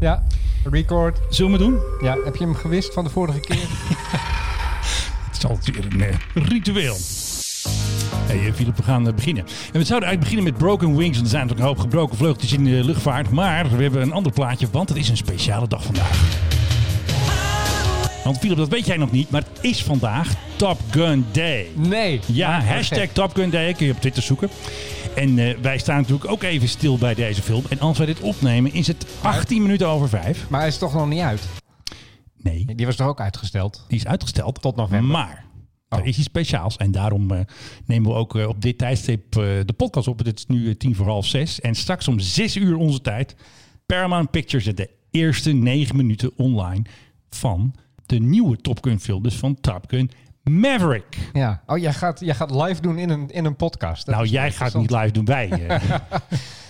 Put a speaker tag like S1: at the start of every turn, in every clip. S1: Ja, record.
S2: Zullen we het doen?
S1: Ja, heb je hem gewist van de vorige keer?
S2: Het is altijd weer een eh, ritueel. Hey eh, Philip, we gaan eh, beginnen. En we zouden eigenlijk beginnen met Broken Wings. Want er zijn natuurlijk een hoop gebroken vleugeltjes in de luchtvaart. Maar we hebben een ander plaatje, want het is een speciale dag vandaag. Want Philip, dat weet jij nog niet, maar het is vandaag Top Gun Day.
S1: Nee.
S2: Ja,
S1: Maar-
S2: hashtag Top Gun Day, kun je op Twitter zoeken. En eh, wij staan natuurlijk ook even stil bij deze film. En als wij dit opnemen, is het 18 minuten over 5.
S1: Maar hij is toch nog niet uit?
S2: Nee,
S1: Die was toch ook uitgesteld?
S2: Die is uitgesteld.
S1: Tot november. Oh.
S2: Maar er is iets speciaals. En daarom eh, nemen we ook eh, op dit tijdstip eh, de podcast op. Het is nu eh, tien voor half zes. En straks om zes uur onze tijd. Paramount Pictures zet de eerste negen minuten online van de nieuwe Top Gun film. Dus van Top Gun Maverick.
S1: Ja. Oh, jij gaat, jij gaat live doen in een, in een podcast. Dat
S2: nou,
S1: is
S2: jij gaat niet
S1: interessant.
S2: live doen, wij. eh.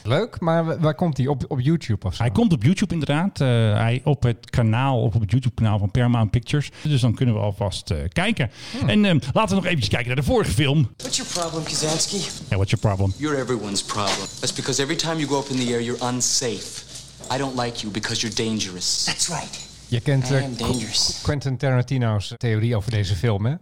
S1: Leuk, maar wa- waar komt die? Op, op YouTube of zo?
S2: Hij komt op YouTube inderdaad. Eh, hij op het kanaal, op het YouTube kanaal van Paramount Pictures. Dus dan kunnen we alvast eh, kijken.
S1: Hmm.
S2: En eh, laten we nog eventjes kijken naar de vorige film.
S3: What's your problem, Kazansky?
S2: Ja, what's your problem?
S3: You're everyone's problem. That's because every time you go up in the air, you're unsafe. I don't like you because you're dangerous. That's right.
S1: Je kent eh,
S3: I am dangerous.
S1: Quentin Tarantino's theorie over deze film, hè?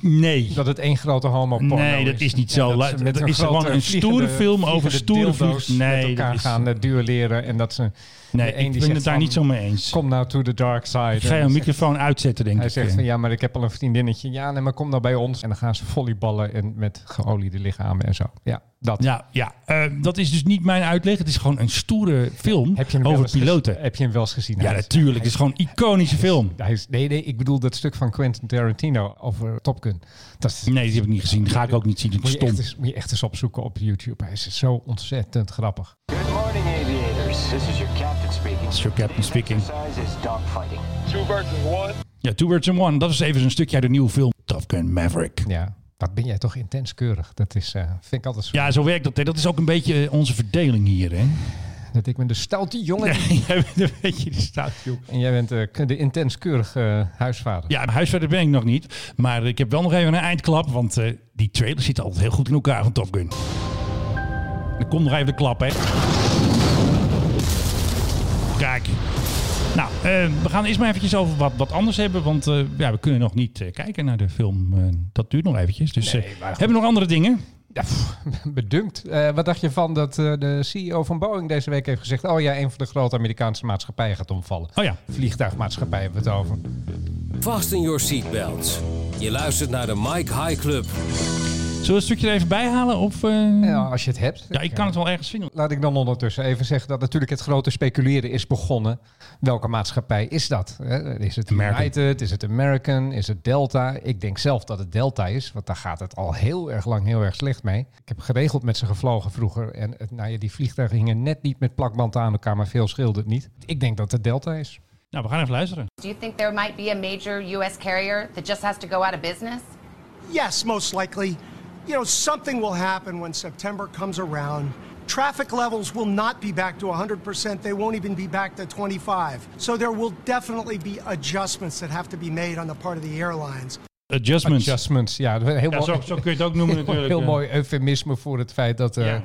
S2: Nee.
S1: Dat het één grote homo porno
S2: Nee, dat is niet zo.
S1: En
S2: La-
S1: ze
S2: dat is gewoon
S1: grote
S2: een stoere
S1: vliegende-
S2: film over
S1: vliegende
S2: stoere
S1: dildo's
S2: vlieg- Nee,
S1: met elkaar
S2: dat is-
S1: gaan eh, duelleren en dat ze...
S2: Nee,
S1: de een die
S2: ik ben
S1: zegt
S2: het daar
S1: van,
S2: niet zo mee eens.
S1: Kom nou to the dark side.
S2: Ik ga
S1: En
S2: jouw
S1: dan zegt-
S2: microfoon uitzetten, denk
S1: Hij
S2: ik. eh.
S1: zegt van ja, maar ik heb al een vriendinnetje. Ja, nee, maar kom nou bij ons. En dan gaan ze volleyballen en met geoliede lichamen en zo. Ja, dat.
S2: Ja, ja. Eh, dat is dus niet mijn uitleg. Het is gewoon een stoere film
S1: Heb je hem wel
S2: over
S1: eens gez-
S2: piloten.
S1: Heb je hem wel eens gezien?
S2: Ja,
S1: Hij is-
S2: natuurlijk. Het is gewoon een iconische film.
S1: Hij is, nee, nee, ik bedoel dat stuk van Quentin Tarantino over Top Gun. Dat is,
S2: Nee, die heb ik niet gezien. Die ga ik ook niet zien. Het
S1: moet, je
S2: is Mm, stom.
S1: echt eens, moet je echt eens opzoeken op YouTube. Hij is zo ontzettend grappig.
S4: Good morning, aviators. This is your captain speaking.
S2: is your captain speaking.
S4: Exercise is dogfighting.
S2: Ja, Two Words in One. Dat is even een stukje uit de nieuwe film. Top Gun Maverick.
S1: Ja, wat ben jij toch intens keurig. Dat is, eh, vind ik altijd zo.
S2: Ja, zo werkt dat. hè. Dat is ook een beetje eh, onze verdeling hier, hè?
S1: Dat ik ben de stoute jongen
S2: Jij bent een beetje de staatjoek.
S1: en jij bent eh, de intens keurige eh, huisvader.
S2: Ja, huisverder ben ik nog niet. Maar ik heb wel nog even een eindklap. Want eh, die trailer zit altijd heel goed in elkaar van Top Gun. Dan komt nog even de klap, hè. Kijk. Nou, eh, we gaan eerst maar eventjes over wat, wat anders hebben. Want eh, ja, we kunnen nog niet eh, kijken naar de film. Eh, dat duurt nog eventjes. Dus eh, hebben we nog andere dingen?
S1: Ja, pff, bedumpt. Eh, wat dacht je van dat eh, de CEO van Boeing deze week heeft gezegd... oh ja, een van de grote Amerikaanse maatschappijen gaat omvallen.
S2: Oh ja.
S1: Vliegtuigmaatschappij hebben we het over.
S5: Fasten your seatbelts. Je luistert naar de Mike High Club.
S2: Zullen we het stukje er even bij halen? Of, eh,
S1: Ja, Nou, als je het hebt.
S2: Ja, ik kan het wel ergens vinden.
S1: Laat ik dan ondertussen even zeggen dat natuurlijk het grote speculeren is begonnen. Welke maatschappij is dat? hè? Is het
S2: American.
S1: United? Is het American? Is het Delta? Ik denk zelf dat het Delta is, want daar gaat het al heel erg lang heel erg slecht mee. Ik heb geregeld met ze gevlogen vroeger en het, nou ja, die vliegtuigen hingen net niet met plakband aan elkaar, maar veel scheelde het niet. Ik denk dat het Delta is.
S2: Nou, we gaan even luisteren.
S6: Do you think there might be a major U.S. carrier that just has to go out of business?
S7: Yes, most likely. You know, something will happen when September comes around. Traffic levels will not be back to 100%. They won't even be back to 25. So there will definitely be adjustments that have to be made on the part of the airlines.
S2: Adjustments.
S1: Adjustments, ja, heel
S2: Ja,
S1: mooi-
S2: zo, zo kun je het ook noemen natuurlijk.
S1: Heel mooi eufemisme voor het feit dat, eh,
S2: Ja.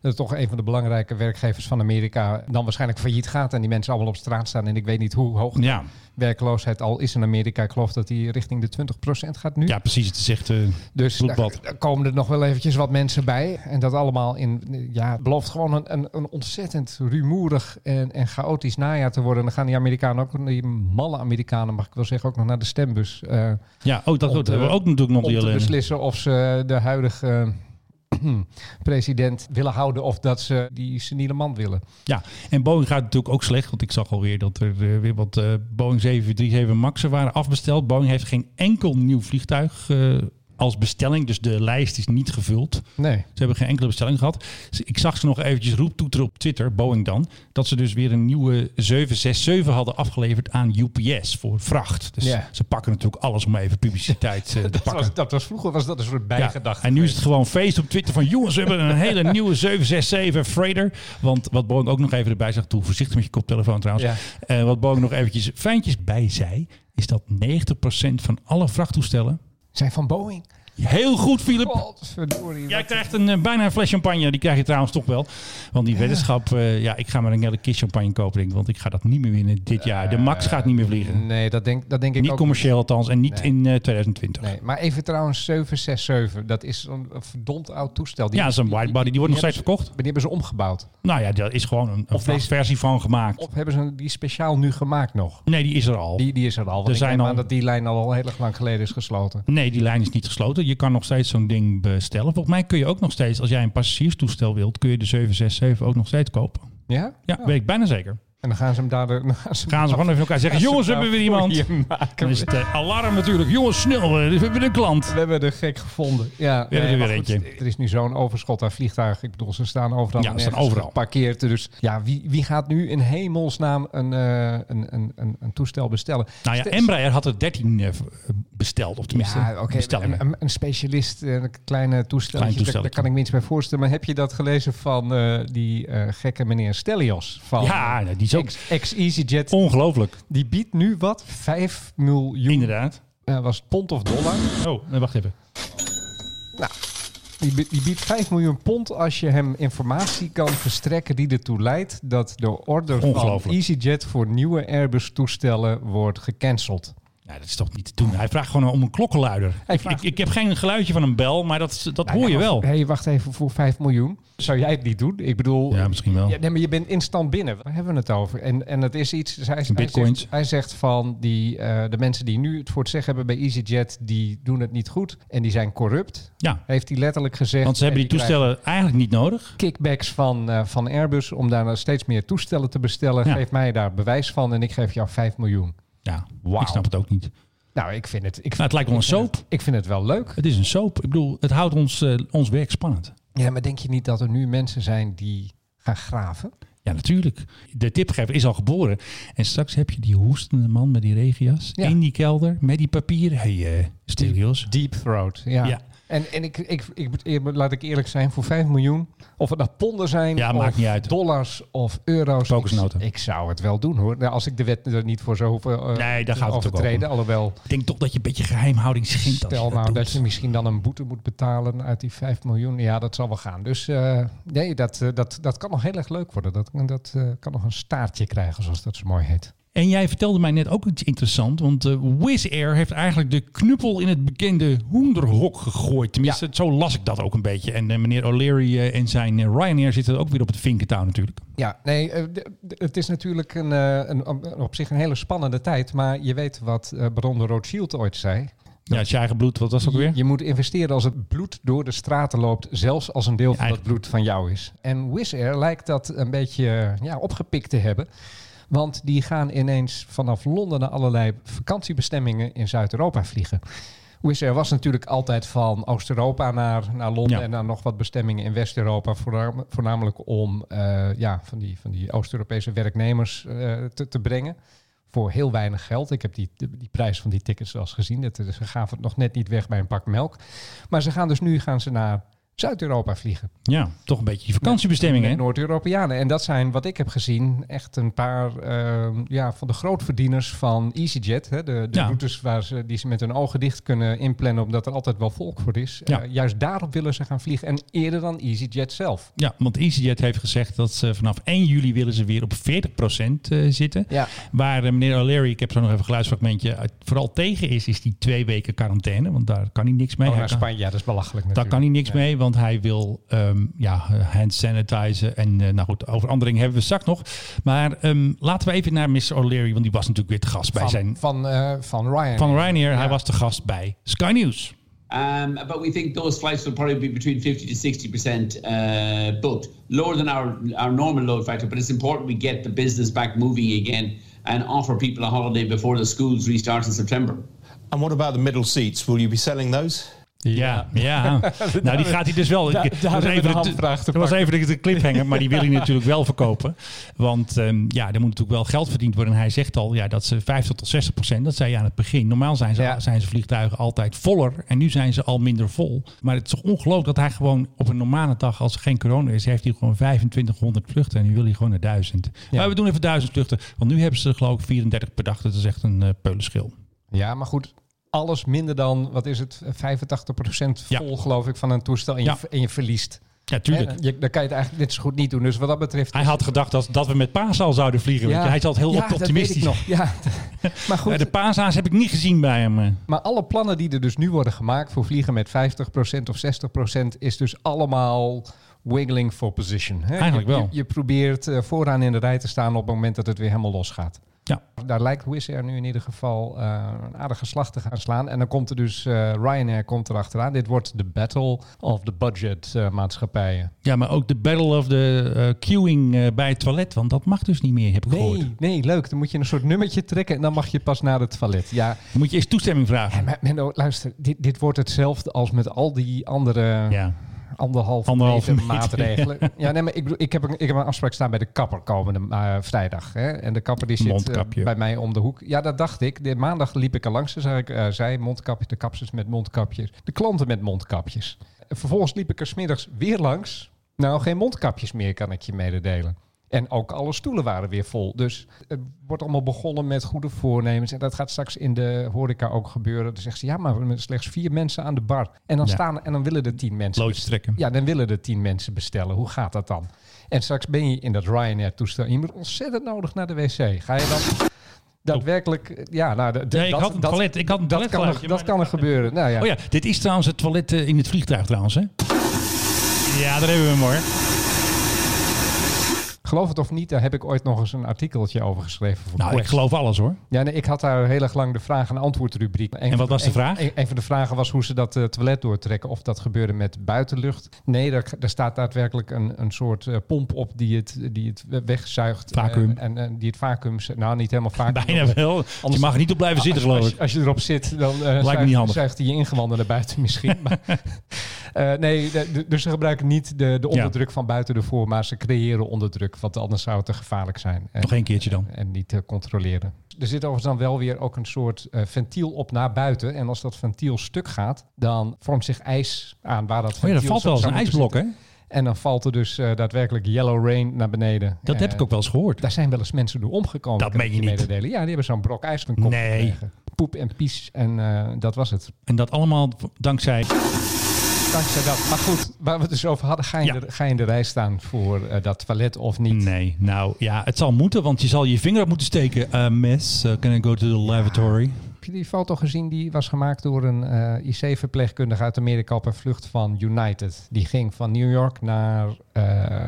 S1: dat toch een van de belangrijke werkgevers van Amerika dan waarschijnlijk failliet gaat. En die mensen allemaal op straat staan. En ik weet niet hoe hoog de
S2: Ja.
S1: werkloosheid al is in Amerika. Ik geloof dat die richting de 20% gaat nu.
S2: Ja, precies. Het is echt eh,
S1: Dus daar,
S2: bloedbad.
S1: daar komen er nog wel eventjes wat mensen bij. En dat allemaal in, ja, het belooft gewoon een, een, een ontzettend rumoerig en, en chaotisch najaar te worden. En dan gaan die Amerikanen ook, die malle Amerikanen mag ik wel zeggen, ook nog naar de stembus. eh,
S2: Ja, oh, dat,
S1: om
S2: dat
S1: te-
S2: hebben we ook natuurlijk nog
S1: om
S2: die
S1: te
S2: ellende.
S1: beslissen of ze de huidige eh, president willen houden of dat ze die seniele man willen.
S2: Ja, en Boeing gaat natuurlijk ook slecht. Want ik zag alweer dat er eh, weer wat eh, Boeing 737 Max'en waren afbesteld. Boeing heeft geen enkel nieuw vliegtuig eh, als bestelling. Dus de lijst is niet gevuld.
S1: Nee.
S2: Ze hebben geen enkele bestelling gehad. Ze- Ik zag ze nog eventjes roeptoeteren op Twitter, Boeing dan, dat ze dus weer een nieuwe 767 hadden afgeleverd aan UPS voor vracht. Dus
S1: Ja.
S2: ze pakken natuurlijk alles om even publiciteit eh, te
S1: Dat
S2: pakken.
S1: was, dat was vroeger was dat een soort
S2: Ja,
S1: bijgedachte.
S2: en nu is het gewoon feest op Twitter van jongens, we hebben een hele nieuwe 767 Freighter. Want wat Boeing ook nog even erbij zegt, doe voorzichtig met je koptelefoon trouwens.
S1: Ja.
S2: Eh, wat Boeing nog eventjes fijntjes bij zei, is dat 90% van alle vrachttoestellen
S1: Zijn van Boeing.
S2: Heel goed, Philip.
S1: Oh. Godverdorie.
S2: Jij
S1: wat-
S2: krijgt een, eh, bijna een fles champagne. Die krijg je trouwens toch wel. Want die weddenschap, eh, ja, ik ga maar een hele kist champagne kopen, denk ik. Want ik ga dat niet meer winnen dit jaar. De Max gaat niet meer vliegen.
S1: Nee, dat denk, dat denk ik
S2: Niet
S1: Eh, ook.
S2: commercieel althans. En niet
S1: Nee.
S2: in eh, 2020.
S1: Nee, maar even trouwens, 767, dat is een een verdomd oud toestel. Die,
S2: Ja, dat is een widebody. Die wordt nog steeds verkocht.
S1: Maar die hebben ze omgebouwd.
S2: Nou ja, daar is gewoon een, een
S1: Of deze-
S2: versie van gemaakt.
S1: Of hebben ze een- die speciaal nu gemaakt nog?
S2: Nee, die is er al.
S1: Die, die is er al. Want ik
S2: zijn
S1: neem
S2: al-
S1: aan dat die lijn al, al heel erg lang geleden is gesloten.
S2: Nee, die lijn is niet gesloten. Je kan nog steeds zo'n ding bestellen. Volgens mij kun je ook nog steeds, als jij een passagierstoestel wilt, kun je de 767 ook nog steeds kopen.
S1: Ja?
S2: Ja, weet ik bijna zeker.
S1: En dan gaan ze hem daar... de- dan Gaan ze,
S2: Gaan ze gewoon even elkaar zeggen, jongens, we hebben weer iemand.
S1: Hier maken
S2: Dan is
S1: we.
S2: het eh, alarm natuurlijk. Jongens, snel, eh, we hebben een klant.
S1: We hebben de gek gevonden. Ja,
S2: hebben er
S1: maar
S2: weer
S1: goed,
S2: eentje.
S1: Er is nu zo'n overschot aan vliegtuigen. Ik bedoel, ze staan overal.
S2: Ja, ze
S1: en
S2: staan
S1: nergens
S2: overal.
S1: Geparkeerd. Dus ja, wie, wie gaat nu in hemelsnaam een, eh, een, een, een, een toestel bestellen?
S2: Nou ja,
S1: Stel-
S2: Embraer had er 13 eh, v- besteld, of tenminste
S1: Ja, oké.
S2: bestellen.
S1: Een, een- een specialist, eh, een kleine toestel.
S2: Klein
S1: daar,
S2: toestel.
S1: daar kan ik me iets bij voorstellen. Maar heb je dat gelezen van eh, die eh, gekke meneer Stelios? Van,
S2: Ja, nou, die is ook
S1: Ex- Ex-EasyJet.
S2: ongelooflijk.
S1: die biedt nu wat? 5 miljoen.
S2: Inderdaad.
S1: eh, was het pond of dollar?
S2: Oh, nee, wacht even.
S1: Die, bi- die biedt 5 miljoen pond als je hem informatie kan verstrekken die ertoe leidt dat de order van
S2: Ongelooflijk.
S1: EasyJet voor nieuwe Airbus-toestellen wordt gecanceld.
S2: Nou, dat is toch niet te doen. Hij vraagt gewoon om een klokkenluider.
S1: Hij Nou
S2: Ik, ik, ik heb geen geluidje van een bel, maar dat, is- dat hoor je wel.
S1: Hé, hey, wacht even, voor 5 miljoen zou jij het niet doen? Ik bedoel,
S2: Ja, misschien wel.
S1: Ja, nee, maar je bent instant binnen. Waar hebben we het over? En, en het is iets. Dus hij, hij,
S2: Bitcoins.
S1: zegt, hij zegt van die, eh, de mensen die nu het voor het zeggen hebben bij EasyJet, die doen het niet goed en die zijn corrupt.
S2: Ja,
S1: Heeft hij letterlijk gezegd.
S2: want ze hebben
S1: En
S2: die toestellen eigenlijk niet nodig.
S1: krijgen Kickbacks van, eh, van Airbus om daar nou steeds meer toestellen te bestellen.
S2: Ja.
S1: Geef mij daar bewijs van en ik geef jou 5 miljoen.
S2: Ja,
S1: Wauw.
S2: ik snap het ook niet.
S1: Nou, ik vind het. Ik,
S2: Nou, het lijkt wel een
S1: ik vind
S2: soap.
S1: het- ik vind het wel leuk.
S2: Het is een soap. Ik bedoel, het houdt ons, eh, ons werk spannend.
S1: Ja, maar denk je niet dat er nu mensen zijn die gaan graven?
S2: Ja, natuurlijk. De tipgever is al geboren. En straks heb je die hoestende man met die regias
S1: Ja.
S2: in die kelder met die papier. hey, eh Stelios.
S1: Deep Throat, ja.
S2: Ja.
S1: En, en ik, ik, ik, ik- laat ik eerlijk zijn, voor 5 miljoen, of het nou ponden zijn,
S2: Ja,
S1: of
S2: maakt niet uit.
S1: dollars of euro's.
S2: Kokosnoten.
S1: Ik, ik zou het wel doen hoor. Nou, als ik de wet er niet voor zou hoeven eh,
S2: Nee, daar gaat het ook
S1: overtreden. Alhoewel,
S2: Ik denk toch dat je een beetje geheimhouding schint. als
S1: stel
S2: je
S1: nou
S2: doet.
S1: dat je misschien dan een boete moet betalen uit die 5 miljoen. Ja, dat zal wel gaan. Dus eh, nee, dat, eh, dat, dat kan nog heel erg leuk worden. Dat, dat eh, kan nog een staartje krijgen, zoals dat zo mooi heet.
S2: En jij vertelde mij net ook iets interessants. Want eh, Wizz Air heeft eigenlijk de knuppel in het bekende hoenderhok gegooid. Tenminste, zo las ik dat ook een beetje. En eh, meneer O'Leary eh, en zijn eh, Ryanair zitten ook weer op het vinkentouw natuurlijk.
S1: Ja, nee, eh, d- d- het is natuurlijk een, eh, een, een- op zich een hele spannende tijd. Maar je weet wat eh Baron de Rothschild ooit zei.
S2: Ja, het is je eigen bloed. Wat was dat ook weer?
S1: Je moet investeren als het bloed door de straten loopt, zelfs als een deel van dat
S2: eigenlijk-
S1: bloed van jou is. En Wizz Air lijkt dat een beetje eh, ja, opgepikt te hebben. Want die gaan ineens vanaf Londen naar allerlei vakantiebestemmingen in Zuid-Europa vliegen. Wizz Air was natuurlijk altijd van Oost-Europa naar, naar Londen
S2: Ja.
S1: en naar nog wat bestemmingen in West-Europa. voornam- Voornamelijk om eh, ja, van die, van die Oost-Europese werknemers eh, te, te brengen voor heel weinig geld. Ik heb die, die prijs van die tickets zelfs gezien. Dat, eh, ze gaven het nog net niet weg bij een pak melk. Maar ze gaan dus nu gaan ze naar Zuid-Europa vliegen.
S2: Ja, toch een beetje die vakantiebestemming, hè?
S1: Met Noord-Europeanen. En dat zijn, wat ik heb gezien, echt een paar eh, ja, van de grootverdieners van EasyJet. Hè, de de
S2: Ja.
S1: routes waar ze, die ze met hun ogen dicht kunnen inplannen, omdat er altijd wel volk voor is.
S2: Ja.
S1: Eh, juist daarop willen ze gaan vliegen. En eerder dan EasyJet zelf.
S2: Ja, want EasyJet heeft gezegd dat ze vanaf 1 juli willen ze weer op 40% eh, zitten.
S1: Ja.
S2: Waar eh, meneer O'Leary, ik heb zo nog even een geluidsfragmentje, uit- vooral tegen is, is die twee weken quarantaine. Want daar kan hij niks mee.
S1: Oh,
S2: Hij
S1: naar
S2: kan-
S1: Spanje, ja, dat is belachelijk
S2: daar
S1: natuurlijk.
S2: kan hij niks
S1: Ja.
S2: mee, want hij wil ehm, ja, hand sanitizen. En eh, nou goed, over Andering hebben we straks nog. Maar ehm, laten we even naar Mr. O'Leary, want die was natuurlijk weer te gast bij
S1: Van,
S2: zijn...
S1: van, eh, van Ryan.
S2: Van Ryanair, hij was te gast bij Sky News.
S8: Um, but we think those flights will probably be between 50 to 60% uh, booked, lower than our, our normal load factor. But it's important we get the business back moving again and offer people a holiday before the schools restart in September.
S9: And what about the middle seats? Will you be selling those?
S2: Ja, ja. nou, die gaat hij dus wel.
S1: daar
S2: Ik- dat
S1: hebben we de
S2: even
S1: hamvraag te
S2: dat was even de, de cliffhanger, maar die wil hij natuurlijk wel verkopen. Want ehm, ja, er moet natuurlijk wel geld verdiend worden. En hij zegt al ja, dat ze 50 tot 60 procent, dat zei je aan het begin. Normaal zijn, ze,
S1: Ja.
S2: zijn ze vliegtuigen altijd voller en nu zijn ze al minder vol. Maar het is toch ongelooflijk dat hij gewoon op een normale dag, als er geen corona is, heeft hij gewoon 2500 vluchten. En nu wil hij gewoon naar 1000. Maar we doen even 1000 vluchten, want nu hebben ze er geloof ik 34 per dag. Dat is echt een eh peulenschil.
S1: Ja, maar goed. alles minder dan, wat is het, 85%
S2: Ja.
S1: vol geloof ik van een toestel en,
S2: Ja.
S1: je, en je verliest.
S2: Ja, tuurlijk.
S1: Hè, je- dan kan je het eigenlijk net zo goed niet doen. Dus wat dat betreft...
S2: Hij
S1: is-
S2: had gedacht dat, dat we met paasal zouden vliegen. weet je. Hij zat heel
S1: Ja, dat
S2: optimistisch.
S1: weet ik nog. Ja, maar goed.
S2: Eh, De paashaas heb ik niet gezien bij hem. eh.
S1: Maar alle plannen die er dus nu worden gemaakt voor vliegen met 50% of 60% is dus allemaal wiggling for position. Hè?
S2: Eigenlijk
S1: Je-
S2: wel.
S1: Je, je probeert eh, vooraan in de rij te staan op het moment dat het weer helemaal losgaat.
S2: Ja.
S1: Daar lijkt Wizz Air nu in ieder geval eh, een aardige slag te gaan slaan. En dan komt er dus, eh, Ryanair komt er achteraan. Dit wordt de battle of the budget eh, maatschappijen.
S2: ja, maar ook de battle of the eh, queuing eh, bij het toilet. Want dat mag dus niet meer, heb ik gehoord.
S1: Nee, nee, leuk. Dan moet je een soort nummertje trekken en dan mag je pas naar het toilet. Ja,
S2: Dan moet je eerst toestemming vragen.
S1: maar Menno, luister, dit, dit wordt hetzelfde als met al die andere
S2: Ja.
S1: anderhalf,
S2: Anderhalve
S1: meter
S2: meter,
S1: maatregelen. Ja, nee, maar ik, bedoel, ik, heb een, ik heb een afspraak staan bij de kapper komende eh, vrijdag. Hè? En de kapper die zit eh,
S2: Mondkapje.
S1: bij mij om de hoek. Ja, dat dacht ik. De maandag liep ik er langs. Dus ik eh zij mondkapjes, de kapsers met mondkapjes, de klanten met mondkapjes. En vervolgens liep ik er smiddags weer langs. Nou, geen mondkapjes meer, kan ik je mededelen. En ook alle stoelen waren weer vol. Dus het wordt allemaal begonnen met goede voornemens. En dat gaat straks in de horeca ook gebeuren. Dan zegt ze, ja, maar we hebben slechts vier mensen aan de bar. En dan,
S2: Ja.
S1: staan, en dan willen er tien mensen.
S2: Loodjes trekken.
S1: Ja, dan willen er tien mensen bestellen. Hoe gaat dat dan? En straks ben je in dat Ryanair-toestel. en Je moet ontzettend nodig naar de wc. Ga je dan daadwerkelijk... Ja, nou, d- d-
S2: Nee, ik
S1: dat,
S2: had een
S1: dat-
S2: toilet. Ik had een
S1: dat kan,
S2: toiletgeluidje,
S1: er, dat
S2: maar
S1: kan er gebeuren. Nou ja.
S2: Oh ja, dit is trouwens het toilet eh, in het vliegtuig trouwens, hè? Ja, daar hebben we hem hoor.
S1: Geloof het of niet, daar heb ik ooit nog eens een artikeltje over geschreven. Voor
S2: Nou, ik
S1: Quest.
S2: geloof alles hoor.
S1: Ja, nee, ik had daar heel erg lang de vraag- en antwoordrubriek. Een van
S2: wat
S1: de-
S2: was de
S1: een-
S2: vraag?
S1: Een, een van de vragen was hoe ze dat eh, toilet doortrekken. Of dat gebeurde met buitenlucht. Nee, daar, daar staat daadwerkelijk een, een soort eh, pomp op die het, die het wegzuigt.
S2: Vacuüm.
S1: Eh, en, en die het vacuüm... Nou, niet helemaal vacuüm.
S2: Bijna wel. Dus je mag er niet op blijven zitten,
S1: Ah, als,
S2: geloof
S1: als,
S2: ik.
S1: als je erop zit, dan eh,
S2: me
S1: zuigt-
S2: niet handig.
S1: zuigt hij je ingewanden naar buiten misschien. maar, eh, nee, de- de- dus ze gebruiken niet de, de onderdruk van buiten ervoor, maar ze creëren onderdruk, want anders zou het te gevaarlijk zijn. En-
S2: Nog één keertje dan.
S1: en niet te controleren. Er zit overigens dan wel weer ook een soort eh, ventiel op naar buiten. En als dat ventiel stuk gaat, dan vormt zich ijs aan waar dat
S2: Oh
S1: ventiel
S2: ja, dat valt wel
S1: zou-
S2: eens een
S1: zou moeten
S2: ijsblok, hè?
S1: zitten. En dan valt er dus eh, daadwerkelijk yellow rain naar beneden.
S2: Dat heb
S1: Eh,
S2: ik ook wel eens gehoord.
S1: Daar zijn wel eens mensen door omgekomen.
S2: Dat
S1: kan
S2: meen
S1: ik
S2: je niet.
S1: Mededelen. Ja, die hebben zo'n brok ijs van kop
S2: Nee.
S1: gekregen. Poep en pies en eh, dat was het.
S2: En dat allemaal dankzij...
S1: Dankzij dat. Maar goed, waar we het dus over hadden, ga je,
S2: Ja.
S1: in de, ga je in de rij staan voor eh, dat toilet of niet?
S2: Nee, nou ja, het zal moeten, want je zal je vinger op moeten steken. Eh, miss, eh, can I go to the lavatory?
S1: Heb je die foto gezien? Die was gemaakt door een eh, IC-verpleegkundige uit Amerika op een vlucht van United. Die ging van New York naar eh,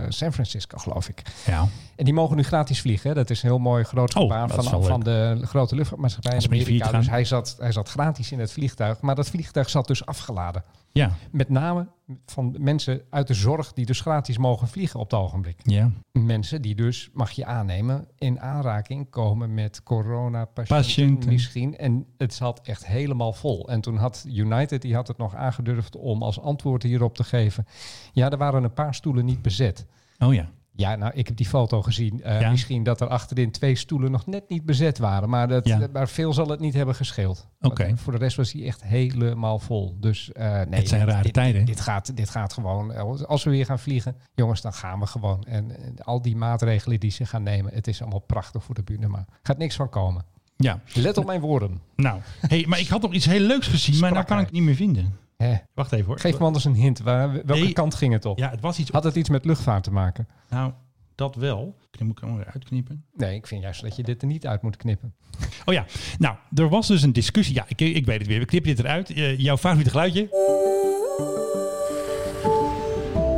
S1: San Francisco, geloof ik.
S2: Ja,
S1: En die mogen nu gratis vliegen. hè. Dat is een heel mooi groot
S2: Oh,
S1: gebaar
S2: dat is
S1: van,
S2: wel
S1: van de grote luchtvaartmaatschappij
S2: Als
S1: in
S2: we niet
S1: Amerika.
S2: failliet
S1: Dus
S2: gaan.
S1: hij zat, hij zat gratis in het vliegtuig. Maar dat vliegtuig zat dus afgeladen.
S2: ja,
S1: Met name van mensen uit de zorg die dus gratis mogen vliegen op het ogenblik.
S2: ja.
S1: Mensen die dus, mag je aannemen, in aanraking komen met coronapatiënten
S2: Patiënten.
S1: misschien. En het zat echt helemaal vol. En toen had United, die had het nog aangedurfd om als antwoord hierop te geven. Ja, er waren een paar stoelen niet bezet.
S2: Oh ja.
S1: Ja, nou, ik heb die foto gezien. Eh,
S2: Ja.
S1: Misschien dat er achterin twee stoelen nog net niet bezet waren. Maar, dat,
S2: Ja.
S1: maar veel zal het niet hebben gescheeld.
S2: Oké.
S1: Want Voor de rest was hij echt helemaal vol. Dus eh, nee,
S2: Het zijn
S1: dit-
S2: rare
S1: dit-
S2: tijden.
S1: Dit gaat, dit gaat gewoon. eh, Als we weer gaan vliegen, jongens, dan gaan we gewoon. En eh, al die maatregelen die ze gaan nemen, het is allemaal prachtig voor de bühne. Maar gaat niks van komen.
S2: Ja,
S1: Let op mijn woorden.
S2: nou. Hey, maar ik had nog iets heel leuks gezien, maar nou kan ik het niet meer vinden.
S1: Hè.
S2: Wacht even hoor.
S1: Geef me anders een hint. Waar, welke
S2: Nee.
S1: kant ging het op?
S2: Ja, het was iets...
S1: Had het iets met luchtvaart te maken?
S2: Nou, dat wel. Dan moet ik hem weer uitknippen.
S1: Nee, ik vind juist dat je dit er niet uit moet knippen.
S2: Oh ja, nou, er was dus een discussie. Ja, ik, ik weet het weer. We knippen dit eruit. Eh, jouw favoriete geluidje?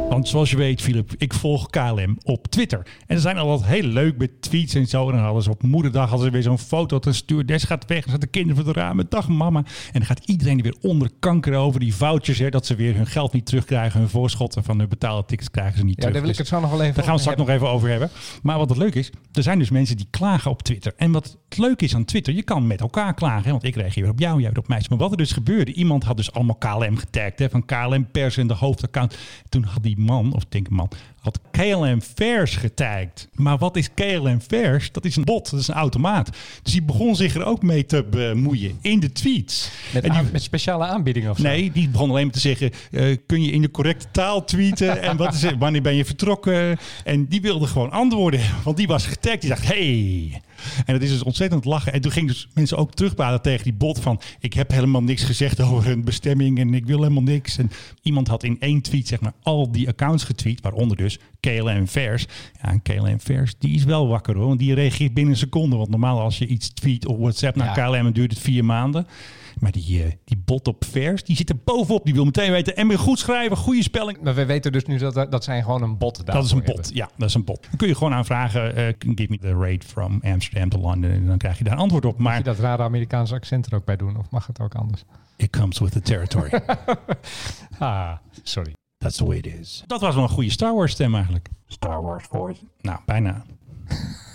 S2: Want zoals je weet, Filip, ik volg KLM op Twitter. En ze zijn altijd heel leuk met tweets en zo. En dan hadden ze op moederdag hadden ze weer zo'n foto. dat Een stewardess gaat weg. Dan zitten de kinderen voor de ramen. Dag mama. En dan gaat iedereen er weer onder kanker over. Die vouchers, hè, dat ze weer hun geld niet terugkrijgen. Hun voorschotten van hun betaalde tickets krijgen ze niet
S1: Ja,
S2: terug.
S1: daar wil ik
S2: Dus-
S1: het zo nog wel even
S2: daar gaan we
S1: over
S2: het straks nog even over hebben. Maar wat het leuk is, er zijn dus mensen die klagen op Twitter. En wat het leuk is aan Twitter, je kan met elkaar klagen. hè, Want ik reageer weer op jou, jij weer op mij. Maar wat er dus gebeurde, iemand had dus allemaal KLM getagd. Hè, van KLM Pers in de hoofdaccount. Toen had die man, of ik denk man, had KLM Vers getagd. Maar wat is KLM Vers? Dat is een bot, dat is een automaat. Dus die begon zich er ook mee te bemoeien in de tweets.
S1: Met,
S2: en die,
S1: aan- Ah, met speciale aanbiedingen of zo?
S2: Nee, die begon alleen maar te zeggen: eh, kun je in de correcte taal tweeten? En wat is het? Wanneer ben je vertrokken? En die wilde gewoon antwoorden, want die was getagd. Die dacht: hey, En dat is dus ontzettend lachen. En toen gingen dus mensen ook terugbladen tegen die bot van... ik heb helemaal niks gezegd over hun bestemming en ik wil helemaal niks. En iemand had in één tweet zeg maar al die accounts getweet, waaronder dus KLM Vers. Ja, en KLM Vers, die is wel wakker hoor, want die reageert binnen een seconde. Want normaal als je iets tweet op WhatsApp naar
S1: Ja.
S2: KLM, dan duurt het vier maanden. Maar die, eh, die bot op Vers, die zit er bovenop. Die wil meteen weten, en weer goed schrijven, goede spelling.
S1: Maar we weten dus nu dat, dat zijn gewoon een bot
S2: Dat is een
S1: daarvoor
S2: bot.
S1: hebben.
S2: Ja, dat is een bot. Dan kun je gewoon aanvragen: eh, give me the rate from Amsterdam to London. En dan krijg je daar een antwoord op. Maar
S1: Moet je dat rare Amerikaanse accent er ook bij doen? Of mag het ook anders?
S2: it comes with the territory.
S1: Ah, sorry.
S2: That's the way it is. Dat was wel een goede Star Wars stem eigenlijk. Star Wars voice. Nou, bijna.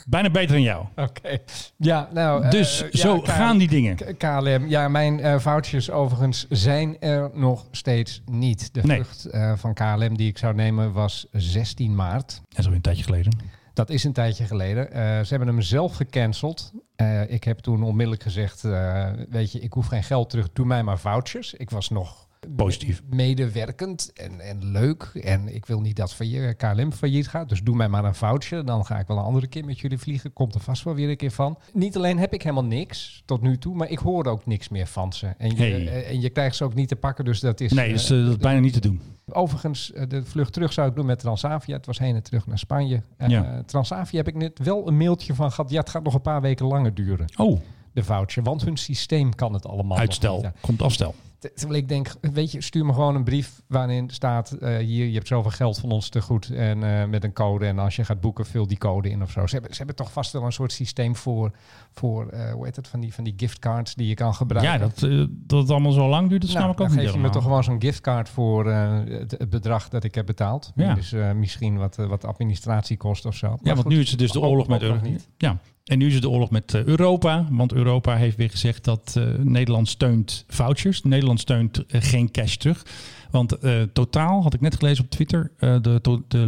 S2: bijna beter dan jou.
S1: Oké. Ja, nou... eh,
S2: Dus
S1: ja,
S2: zo
S1: K-
S2: gaan die dingen.
S1: K- KLM. Ja, mijn eh vouchers overigens zijn er nog steeds niet. De
S2: Nee.
S1: vlucht eh, van KLM die ik zou nemen was 16 maart.
S2: En zo een tijdje geleden.
S1: Dat is een tijdje geleden. Eh, ze hebben hem zelf gecanceld. Eh, ik heb toen onmiddellijk gezegd, eh, weet je, ik hoef geen geld terug, doe mij maar vouchers. Ik was nog
S2: Positief.
S1: medewerkend en, en leuk. En ik wil niet dat failliet, KLM failliet gaat. Dus doe mij maar een voucher. Dan ga ik wel een andere keer met jullie vliegen. Komt er vast wel weer een keer van. Niet alleen heb ik helemaal niks tot nu toe, maar ik hoor ook niks meer van ze. En je,
S2: Hey.
S1: eh, en je krijgt ze ook niet te pakken. Dus dat is.
S2: Nee,
S1: eh,
S2: dus eh, dat is bijna niet te doen.
S1: Overigens, eh, de vlucht terug zou ik doen met Transavia. Het was heen en terug naar Spanje. Eh,
S2: Ja.
S1: Transavia heb ik net wel een mailtje van gehad. Ja, het gaat nog een paar weken langer duren,
S2: Oh,
S1: de voucher. Want hun systeem kan het allemaal nog niet.
S2: uitstel.
S1: Ja.
S2: Komt afstel.
S1: Ter- Terwijl ik denk, weet je, stuur me gewoon een brief waarin staat... eh, hier, je hebt zoveel geld van ons te goed en eh, met een code. En als je gaat boeken, vul die code in of zo. Ze hebben, ze hebben toch vast wel een soort systeem voor, voor eh, hoe heet het, van die, van die giftcards die je kan gebruiken.
S2: Ja, dat, eh, dat het allemaal zo lang duurt, dat snap
S1: Nou,
S2: ik ook
S1: dan
S2: niet
S1: geef je me
S2: helemaal.
S1: toch gewoon zo'n giftcard voor eh, het, het bedrag dat ik heb betaald.
S2: Ja.
S1: Dus eh, misschien wat, eh, wat administratie kost of zo.
S2: Ja,
S1: Maar
S2: want
S1: goed,
S2: nu is het dus de
S1: ook-
S2: oorlog met
S1: ook nog
S2: Europa.
S1: niet.
S2: Ja, en nu is het de oorlog met eh, Europa. Want Europa heeft weer gezegd dat eh, Nederland steunt vouchers. Nederland steunt eh, geen cash terug. Want eh, totaal, had ik net gelezen op Twitter, eh, de, to- de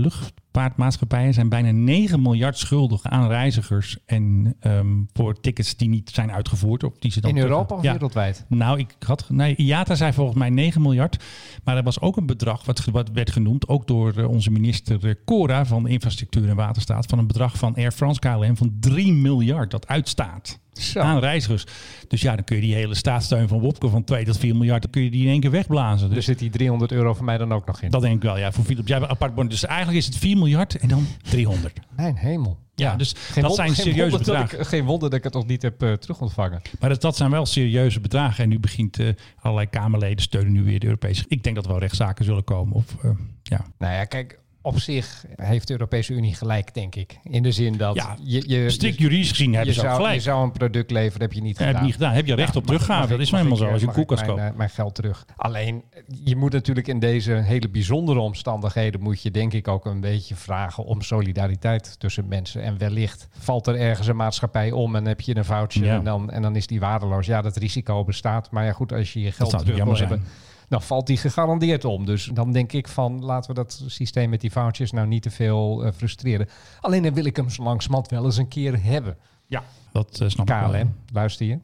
S2: luchtvaartmaatschappijen zijn bijna 9 miljard schuldig aan reizigers. En ehm, voor tickets die niet zijn uitgevoerd. Of die ze dan
S1: In
S2: terug-
S1: Europa of
S2: Ja.
S1: wereldwijd?
S2: Nou, ik had. Nee, IATA zei volgens mij 9 miljard. Maar er was ook een bedrag wat, ge- wat werd genoemd, ook door eh, onze minister eh, Cora van Infrastructuur en Waterstaat, van een bedrag van Air France KLM van 3 miljard dat uitstaat.
S1: Zo.
S2: Aan reizigers. Dus ja, dan kun je die hele staatssteun van Wopke van 2 tot 4 miljard, dan kun je die in één keer wegblazen.
S1: Er
S2: Dus
S1: zit die 300 euro voor mij dan ook nog in.
S2: dat denk ik wel. Ja, voor Philips, jij hebt een apart bon. Dus eigenlijk is het 4 miljard en dan 300.
S1: Mijn hemel.
S2: Ja, dus dat
S1: wonder-
S2: zijn serieuze
S1: wonder dat
S2: bedragen.
S1: ik- geen wonder dat ik het nog niet heb eh, terugontvangen.
S2: Maar dat, dat zijn wel serieuze bedragen. En nu begint eh, allerlei Kamerleden steunen nu weer de Europese. Ik denk dat er wel rechtszaken zullen komen. Of eh, ja,
S1: Nou ja, kijk, op zich heeft de Europese Unie gelijk, denk ik. In de zin dat
S2: Ja,
S1: je, je,
S2: Strikt
S1: dus je,
S2: juridisch gezien
S1: je
S2: hebben ze ook
S1: zou, je
S2: gelijk.
S1: zou een product leveren, heb je niet
S2: Ja, heb je
S1: gedaan.
S2: niet gedaan. Heb je recht op
S1: mag ik-
S2: teruggave.
S1: mag
S2: Dat
S1: ik-
S2: is nou
S1: mag
S2: helemaal zo.
S1: ik,
S2: Als je
S1: mag
S2: een koelkast
S1: ik mijn,
S2: koopt.
S1: eh, mijn geld terug. Alleen, je moet natuurlijk in deze hele bijzondere omstandigheden... moet je denk ik ook een beetje vragen om solidariteit tussen mensen. En wellicht valt er ergens een maatschappij om en heb je een voucher...
S2: Ja.
S1: En, dan, en dan is die waardeloos. Ja, dat risico bestaat. Maar ja, goed, als je je geld
S2: zou
S1: terug wil
S2: jammer
S1: hebben... Dan valt die gegarandeerd om. Dus dan denk ik van laten we dat systeem met die vouchers nou niet te veel eh, frustreren. Alleen dan wil ik hem zo langsmand wel eens een keer hebben.
S2: Ja, dat eh, snap ik wel.
S1: KLM, luister je?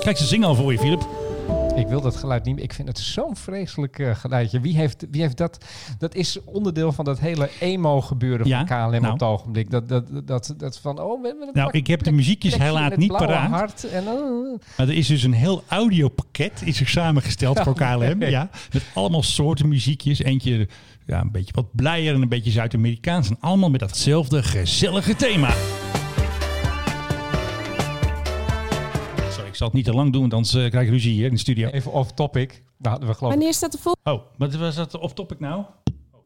S2: Kijk, ze zingen al voor je, Filip.
S1: Ik wil dat geluid niet meer. Ik vind het zo'n vreselijk eh, geluidje. Wie heeft, wie heeft dat? Dat is onderdeel van dat hele emo-gebeuren
S2: Ja,
S1: van KLM
S2: nou.
S1: op het ogenblik. Dat, dat, dat, dat van, oh, we hebben een
S2: Nou,
S1: plek-
S2: ik heb de muziekjes
S1: plekje
S2: helaas
S1: met
S2: niet
S1: blauwe
S2: paraat.
S1: Hart en, oh.
S2: Maar er is dus een heel audiopakket is er samengesteld voor KLM. Ja, met allemaal soorten muziekjes. Eentje ja, een beetje wat blijer en een beetje Zuid-Amerikaans. En allemaal met datzelfde gezellige thema. Sorry, ik zal het niet te lang doen, want anders eh, krijg ik ruzie hier in de studio.
S1: Even off-topic. Daar hadden we geloof ik-
S10: Wanneer staat de volgende?
S2: Oh, wat was dat off-topic nou?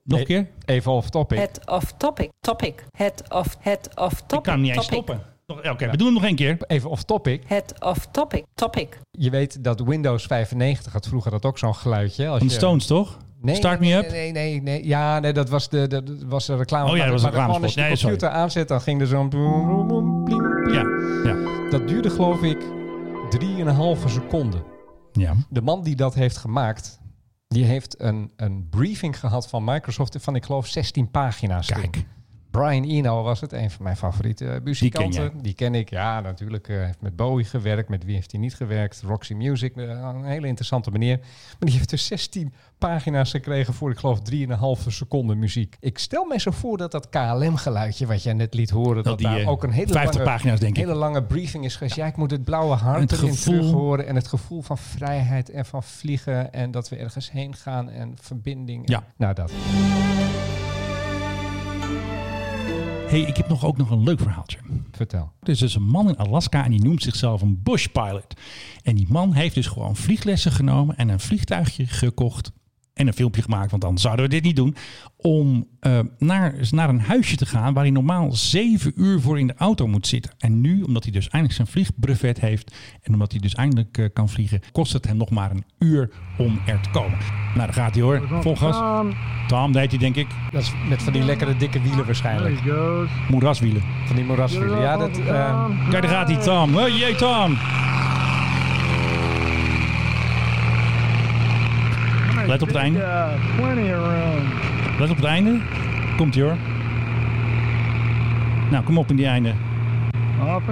S2: Nog een keer?
S1: Even off-topic.
S10: Het of topic. Topic. Het of het of topic.
S2: Ik kan hem niet eens
S10: topic.
S2: stoppen. Nog- Oké, we doen hem nog één keer.
S1: Even off-topic.
S10: Het of topic. Topic.
S1: Je weet dat Windows 95 had vroeger dat ook zo'n geluidje. Als
S2: Van de
S1: je-
S2: Stones, toch?
S1: Nee,
S2: Start
S1: nee,
S2: me up.
S1: nee, Nee, nee, nee. Ja, nee, dat was de, dat was de reclame.
S2: Oh ja, dat was een
S1: Maar gewoon Als je
S2: reclamespot.
S1: de
S2: Nee, sorry.
S1: computer aanzet, dan ging er zo'n... bloem, bloem, bloem, bling, bling.
S2: Ja, ja,
S1: Dat duurde geloof ik 3,5 seconden.
S2: ja.
S1: De man die dat heeft gemaakt, die heeft een, een briefing gehad van Microsoft van ik geloof 16 pagina's. toen.
S2: Kijk.
S1: Brian Eno was het, een van mijn favoriete eh, muzikanten.
S2: ken jij?
S1: Die ken ik, ja, natuurlijk. eh, heeft met Bowie gewerkt, met wie heeft hij niet gewerkt? Roxy Music, eh, een hele interessante meneer. Maar die heeft er 16 pagina's gekregen voor, ik geloof, 3,5 seconden muziek. Ik stel me zo voor dat dat KLM-geluidje wat jij net liet horen, dat,
S2: die,
S1: daar
S2: eh,
S1: ook een hele
S2: 50
S1: lange,
S2: pagina's, denk ik.
S1: hele lange briefing is geweest. Ja, ik moet het blauwe hart
S2: Het
S1: erin
S2: gevoel-
S1: terug horen en het gevoel van vrijheid en van vliegen en dat we ergens heen gaan en verbinding.
S2: Ja.
S1: Nou, dat.
S2: hey, ik heb nog ook nog een leuk verhaaltje.
S1: Vertel.
S2: Er is dus een man in Alaska en die noemt zichzelf een bush pilot. En die man heeft dus gewoon vlieglessen genomen en een vliegtuigje gekocht. En een filmpje gemaakt, want dan zouden we dit niet doen. Om eh, naar, naar een huisje te gaan waar hij normaal zeven uur voor in de auto moet zitten. En nu, omdat hij dus eindelijk zijn vliegbrevet heeft. En omdat hij dus eindelijk eh, kan vliegen, kost het hem nog maar een uur om er te komen. Nou, daar gaat hij hoor. Vol gas. Tom, deed hij denk ik.
S1: Dat is met van die lekkere dikke wielen waarschijnlijk.
S2: Moeraswielen.
S1: Van die moeraswielen. Ja, dat, eh,
S2: Kijk, daar gaat hij, Tom. Hey, jee, Tom. Let op het einde. Let op het einde. Komt ie hoor. Nou, kom op in die einde. Off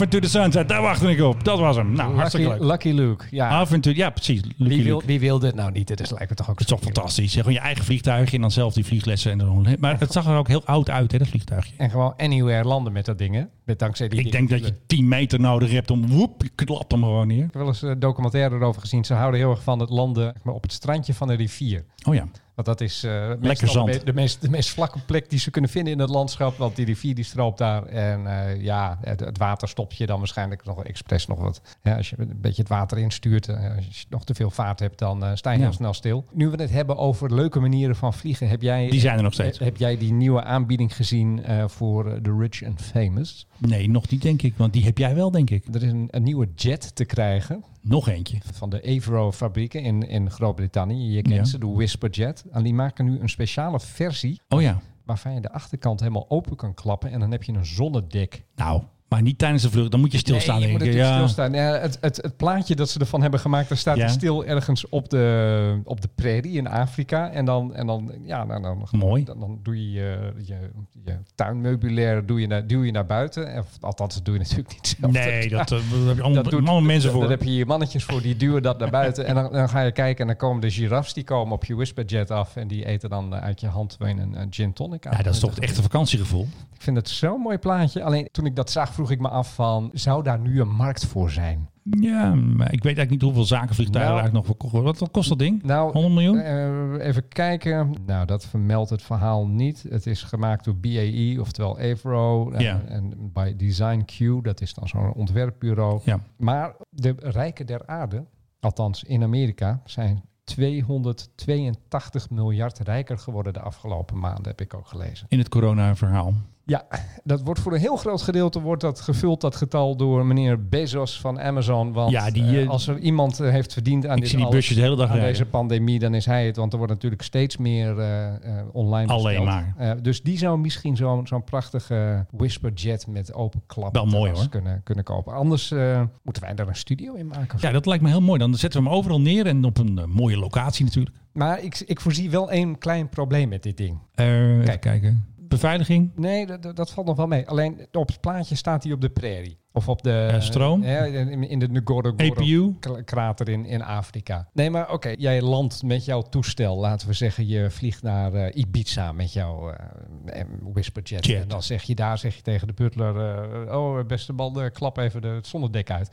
S2: into the sunset. Daar wachtte ik op. Dat was hem. Nou, hartstikke
S1: Lucky,
S2: leuk.
S1: Lucky Luke. Ja.
S2: Off into, ja, precies. Lucky
S1: Wie wil,
S2: Luke.
S1: wie wil dit nou niet? Dit is, lijkt me toch ook
S2: Het is toch fantastisch. hè? Gewoon je eigen vliegtuigje en dan zelf die vlieglessen. En dan, maar het zag er ook heel oud uit, hè, dat vliegtuigje.
S1: En gewoon anywhere landen met dat ding, hè? Met dankzij die
S2: Ik
S1: dikke
S2: denk dat
S1: wielen.
S2: je 10 meter nodig hebt om... Woep, je klapt hem gewoon neer.
S1: Ik heb wel eens een documentaire erover gezien. Ze houden heel erg van het landen zeg maar, op het strandje van een rivier.
S2: Oh ja.
S1: Want dat is eh,
S2: Lekker
S1: meestal
S2: zand.
S1: De, me- de meest, de meest vlakke plek die ze kunnen vinden in het landschap. Want die rivier die stroopt daar. En eh, ja, het, het water stopt je dan waarschijnlijk nog expres nog wat. Ja, als je een beetje het water instuurt, eh, als je nog te veel vaart hebt, dan eh, sta je
S2: Ja.
S1: heel snel stil. Nu we het hebben over leuke manieren van vliegen, heb jij,
S2: Die zijn er nog steeds.
S1: heb jij die nieuwe aanbieding gezien eh, voor eh, The Rich and Famous?
S2: Nee, nog niet denk ik. Want die heb jij wel denk ik.
S1: Er is een, een nieuwe jet te krijgen.
S2: Nog eentje.
S1: van de Avro-fabrieken in, in Groot-Brittannië. Je kent
S2: Ja.
S1: ze, de Whisperjet. En die maken nu een speciale versie
S2: Oh ja.
S1: waarvan je de achterkant helemaal open kan klappen. En dan heb je een zonnedek.
S2: Nou, maar niet tijdens de vlucht. Dan moet je stilstaan
S1: Nee, je
S2: denk
S1: moet
S2: ik.
S1: natuurlijk
S2: Ja.
S1: stilstaan. Ja, het, het, het plaatje dat ze ervan hebben gemaakt, daar staat
S2: Ja.
S1: hij stil ergens op de, op de prairie in Afrika. En dan, en dan, ja, nou, dan,
S2: Mooi.
S1: dan, dan doe je je, je, je tuinmeubilair doe je naar, duw je naar buiten. Of, althans, dat doe je natuurlijk niet zelf.
S2: Nee, dat, eh, daar heb je allemaal,
S1: Dat doet-
S2: allemaal mensen
S1: Daar
S2: voor.
S1: heb je je mannetjes voor, die duwen dat naar buiten. En dan, dan ga je kijken en dan komen de giraffes, die komen op je whisperjet af. En die eten dan eh, uit je hand weer een, een gin tonic aan.
S2: ja, dat is toch het echte vakantiegevoel.
S1: Ik vind het zo'n mooi plaatje. Alleen toen ik dat zag, vroeg ik me af van, zou daar nu een markt voor zijn?
S2: Ja, maar ik weet eigenlijk niet hoeveel zakenvliegtuigen
S1: Nou.
S2: eigenlijk nog verkocht worden. Wat, wat kost dat ding?
S1: Nou,
S2: 100 miljoen?
S1: eh, even kijken. Nou, dat vermeldt het verhaal niet. Het is gemaakt door BAE, oftewel Avro. eh,
S2: Ja.
S1: En bij Design Q, dat is dan zo'n ontwerpbureau.
S2: ja.
S1: Maar de rijken der aarde, althans in Amerika, zijn 282 miljard rijker geworden de afgelopen maanden, heb ik ook gelezen.
S2: In het corona-verhaal.
S1: Ja, dat wordt voor een heel groot gedeelte wordt dat gevuld, dat getal, door meneer Bezos van Amazon. Want
S2: Ja, die,
S1: eh,
S2: eh,
S1: als er iemand eh, heeft verdiend aan,
S2: Ik
S1: dit
S2: zie die
S1: alles,
S2: busjes de hele dag
S1: aan
S2: rijden.
S1: deze pandemie, dan is hij het. Want er wordt natuurlijk steeds meer eh, eh, online besteld.
S2: Alleen maar.
S1: Eh, dus die zou misschien zo'n zo'n prachtige whisperjet met open klap
S2: Wel mooi,
S1: terras
S2: hoor.
S1: Kunnen, kunnen kopen. Anders eh, moeten wij daar een studio in maken. of zo.
S2: Ja, dat lijkt me heel mooi. Dan zetten we hem overal neer en op een eh, mooie locatie natuurlijk.
S1: Maar ik, ik voorzie wel één klein probleem met dit ding.
S2: Eh, Even kijken. Beveiliging.
S1: Nee, dat- dat, dat valt nog wel mee. Alleen op het plaatje staat hij op de prairie. Of op de...
S2: Eh, stroom?
S1: Ja, in, in de
S2: APU?
S1: Ngorongoro-krater in, in Afrika. Nee, maar oké. jij landt met jouw toestel. Laten we zeggen, je vliegt naar eh, Ibiza met jouw eh, eh, Whisperjet.
S2: Jet.
S1: En dan zeg je daar zeg je tegen de butler... eh, oh, beste man, eh, klap even de, het zonnedek uit.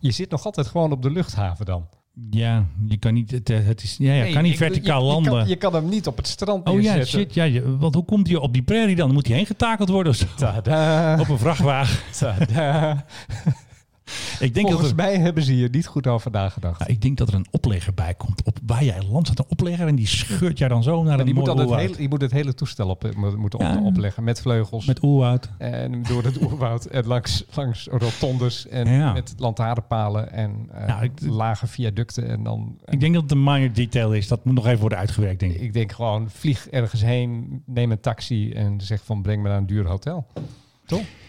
S1: Je zit nog altijd gewoon op de luchthaven dan.
S2: Ja, je kan niet, het, eh, het is, ja, ja,
S1: Nee,
S2: kan niet
S1: ik bedoel,
S2: verticaal
S1: je, je
S2: landen.
S1: Kan, je kan hem niet op het strand
S2: Oh ja,
S1: neerzetten.
S2: shit. Ja, je- want hoe komt hij op die prairie dan? Dan Moet hij heen getakeld worden of zo?
S1: Tada.
S2: Op een vrachtwagen.
S1: Tada.
S2: Ik denk, dat
S1: Volgens
S2: er,
S1: mij hebben ze hier niet goed over nagedacht.
S2: Nou, ik denk dat er een oplegger bij komt. Op waar jij landt staat een oplegger en die scheurt jij dan zo naar
S1: Maar
S2: een
S1: die moet,
S2: mooi
S1: dan het
S2: oerwoud.
S1: hele, die moet het hele toestel op, eh, moet- moeten op-
S2: Ja.
S1: opleggen met vleugels.
S2: Met oerwoud.
S1: en door het oerwoud en langs, langs rotondes en
S2: Ja.
S1: met lantaarnpalen en eh,
S2: Nou, ik-
S1: lage viaducten. En dan, eh,
S2: Ik denk dat het een minor detail is. Dat moet nog even worden uitgewerkt, denk ik.
S1: ik denk gewoon, vlieg ergens heen, neem een taxi en zeg van breng me naar een duur hotel.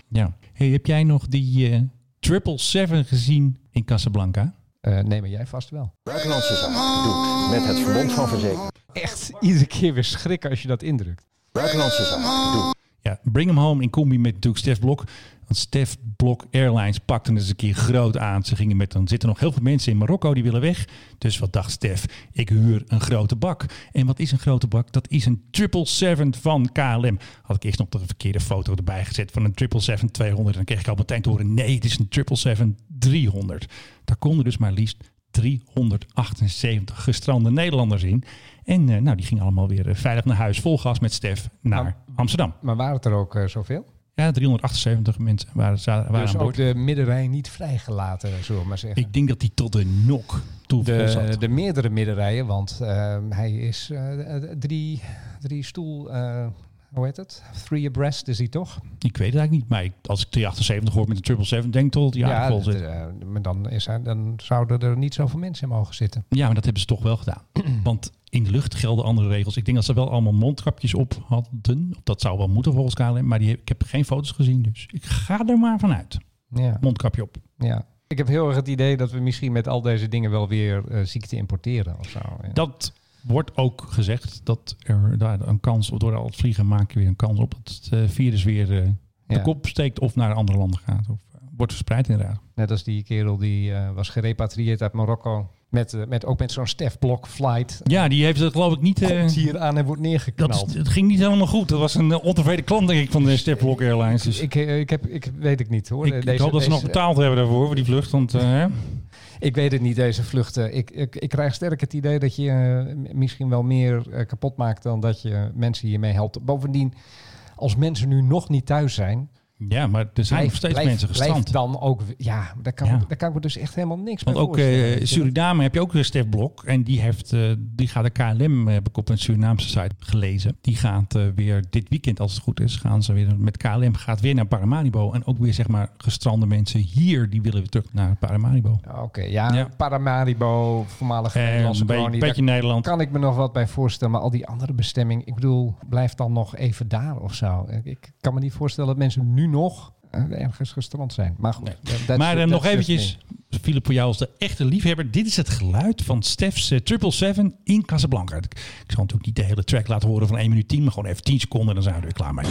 S2: Ja. Hey, heb jij nog die eh 777 gezien in Casablanca?
S1: Eh nee, maar jij vast wel.
S11: Buitenlandse zaken doet met het Verbond van Verzekeringen.
S1: Echt iedere keer weer schrikken als je dat indrukt.
S11: Buitenlandse zaken doet
S2: Ja, bring hem home in combi met natuurlijk Stef Blok. Want Stef Blok Airlines pakte het eens een keer groot aan. Ze gingen met, dan zitten nog heel veel mensen in Marokko die willen weg. Dus wat dacht Stef? Ik huur een grote bak. En wat is een grote bak? Dat is een 777 van KLM. Had ik eerst nog de verkeerde foto erbij gezet van een 777-200. En dan kreeg ik al meteen te horen, nee, het is een 777-300. Daar konden dus maar liefst 378 gestrande Nederlanders in. En eh, nou, die gingen allemaal weer eh, veilig naar huis, vol gas met Stef naar Amsterdam.
S1: Maar waren het er ook eh, zoveel?
S2: Ja, 378 mensen waren, za- waren
S1: dus
S2: aan
S1: ook
S2: boord.
S1: de middenrij niet vrijgelaten, zullen we maar zeggen.
S2: Ik denk dat die tot de nok toe vol
S1: de,
S2: zat.
S1: de meerdere middenrijen, want ehm, hij is eh, eh, drie, drie stoel, eh, hoe heet het? Three abreast is hij toch?
S2: Ik weet het eigenlijk niet, maar ik- als ik 378 hoor met een 777, denk ik tot ja, ja, vol
S1: dat,
S2: zit.
S1: eh, maar dan, is hij, dan zouden er niet zoveel mensen in mogen zitten.
S2: Ja, maar dat hebben ze toch wel gedaan. Want in de lucht gelden andere regels. Ik denk dat ze wel allemaal mondkapjes op hadden. Dat zou wel moeten volgens KLM, maar die, ik heb geen foto's gezien. Dus ik ga er maar vanuit.
S1: Ja.
S2: Mondkapje op.
S1: Ja. Ik heb heel erg het idee dat we misschien met al deze dingen wel weer eh, ziekte importeren of zo. Ja.
S2: Dat wordt ook gezegd dat er daar een kans op, door al het vliegen maak je weer een kans op dat het eh, virus weer eh,
S1: Ja.
S2: de kop steekt of naar andere landen gaat. Of eh, wordt verspreid inderdaad.
S1: Net als die kerel die eh, was gerepatrieerd uit Marokko. Met, eh, met, ook met zo'n stefblok flight.
S2: Ja, die heeft het geloof ik niet. eh,
S1: Komt hier aan en wordt neergeknald.
S2: dat is- het ging niet helemaal goed. Dat was een eh, ontevreden klant, denk ik, van de Stepwalk Airlines. Dus ik,
S1: Ik, eh, ik, heb, ik weet het niet hoor.
S2: ik hoop dat ze nog betaald hebben daarvoor, voor die vlucht. Want eh, hè?
S1: Ik weet het niet, deze vluchten. Ik, ik, ik krijg sterk het idee dat je eh, m- misschien wel meer eh, kapot maakt dan dat je mensen hiermee helpt. Bovendien, als mensen nu nog niet thuis zijn,
S2: ja, maar er zijn nog steeds
S1: blijf-
S2: mensen
S1: blijf
S2: gestrand.
S1: dan ook. Ja, daar kan,
S2: Ja.
S1: daar kan ik me dus echt helemaal niks
S2: Want
S1: mee
S2: ook
S1: voorstellen.
S2: eh, Suriname heb je ook weer Stef Blok. En die, heeft, eh, die gaat de KLM, eh, heb ik op een Surinaamse site gelezen. Die gaat eh, weer dit weekend, als het goed is, gaan ze weer met KLM gaat weer naar Paramaribo. En ook weer zeg maar gestrande mensen hier, die willen weer terug naar Paramaribo.
S1: Ah, Oké, ja,
S2: Ja.
S1: Paramaribo, voormalig
S2: Eh,
S1: Nederlandse
S2: een beetje-
S1: kolonie.
S2: beetje
S1: daar
S2: Nederland.
S1: Kan ik me nog wat bij voorstellen, maar al die andere bestemming, ik bedoel, blijf dan nog even daar of zo. Ik, ik kan me niet voorstellen dat mensen nu nog eh, ergens gestrand zijn. Maar goed. dat- dat-
S2: maar eh,
S1: dat-
S2: nog
S1: dat-
S2: eventjes, Philip, voor jou als de echte liefhebber. Dit is het geluid van Stef's eh, 777 in Casablanca. Ik, ik zal natuurlijk niet de hele track laten horen van 1 minuut 10, maar gewoon even 10 seconden en dan zijn we er weer klaar mee.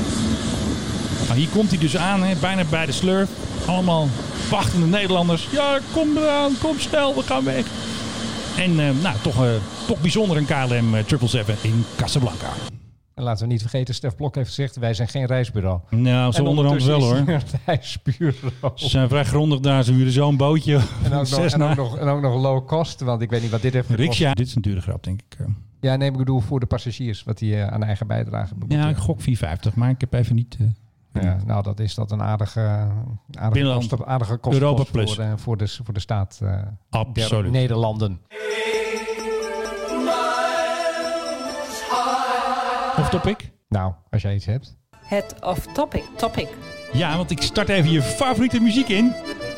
S2: Nou, hier komt hij dus aan, hè, bijna bij de slurf. Allemaal wachtende Nederlanders. Ja, kom eraan, kom snel, we gaan weg. En eh, nou, toch, eh, toch bijzonder een KLM eh, 777 in Casablanca.
S1: En laten we niet vergeten, Stef Blok heeft gezegd, wij zijn geen reisbureau.
S2: Nou, zo
S1: En
S2: onderhand wel
S1: ondertussen
S2: hoor.
S1: is hij een reisbureau.
S2: Ze zijn vrij grondig daar. Ze huren zo'n bootje.
S1: En ook, nog,
S2: Zes
S1: en, ook
S2: na-
S1: nog, en ook nog low cost, want ik weet niet wat dit heeft gekost.
S2: Riksja. Dit is een dure grap, denk ik. eh.
S1: Ja, nee, ik bedoel voor de passagiers, wat die eh, aan eigen bijdrage moeten.
S2: Ja, ik gok 4,50, maar ik heb even niet... eh,
S1: Ja, nou, dat is dat een aardige, eh, aardige,
S2: Binnenland.
S1: kosten, aardige kostenpost
S2: Europa
S1: voor,
S2: plus.
S1: eh, voor, de, voor de staat eh, der
S2: absoluut.
S1: Nederlanden.
S2: Of topic?
S1: Nou, als jij iets hebt.
S10: Head of topic. Topic.
S2: Ja, want ik start even je favoriete muziek in.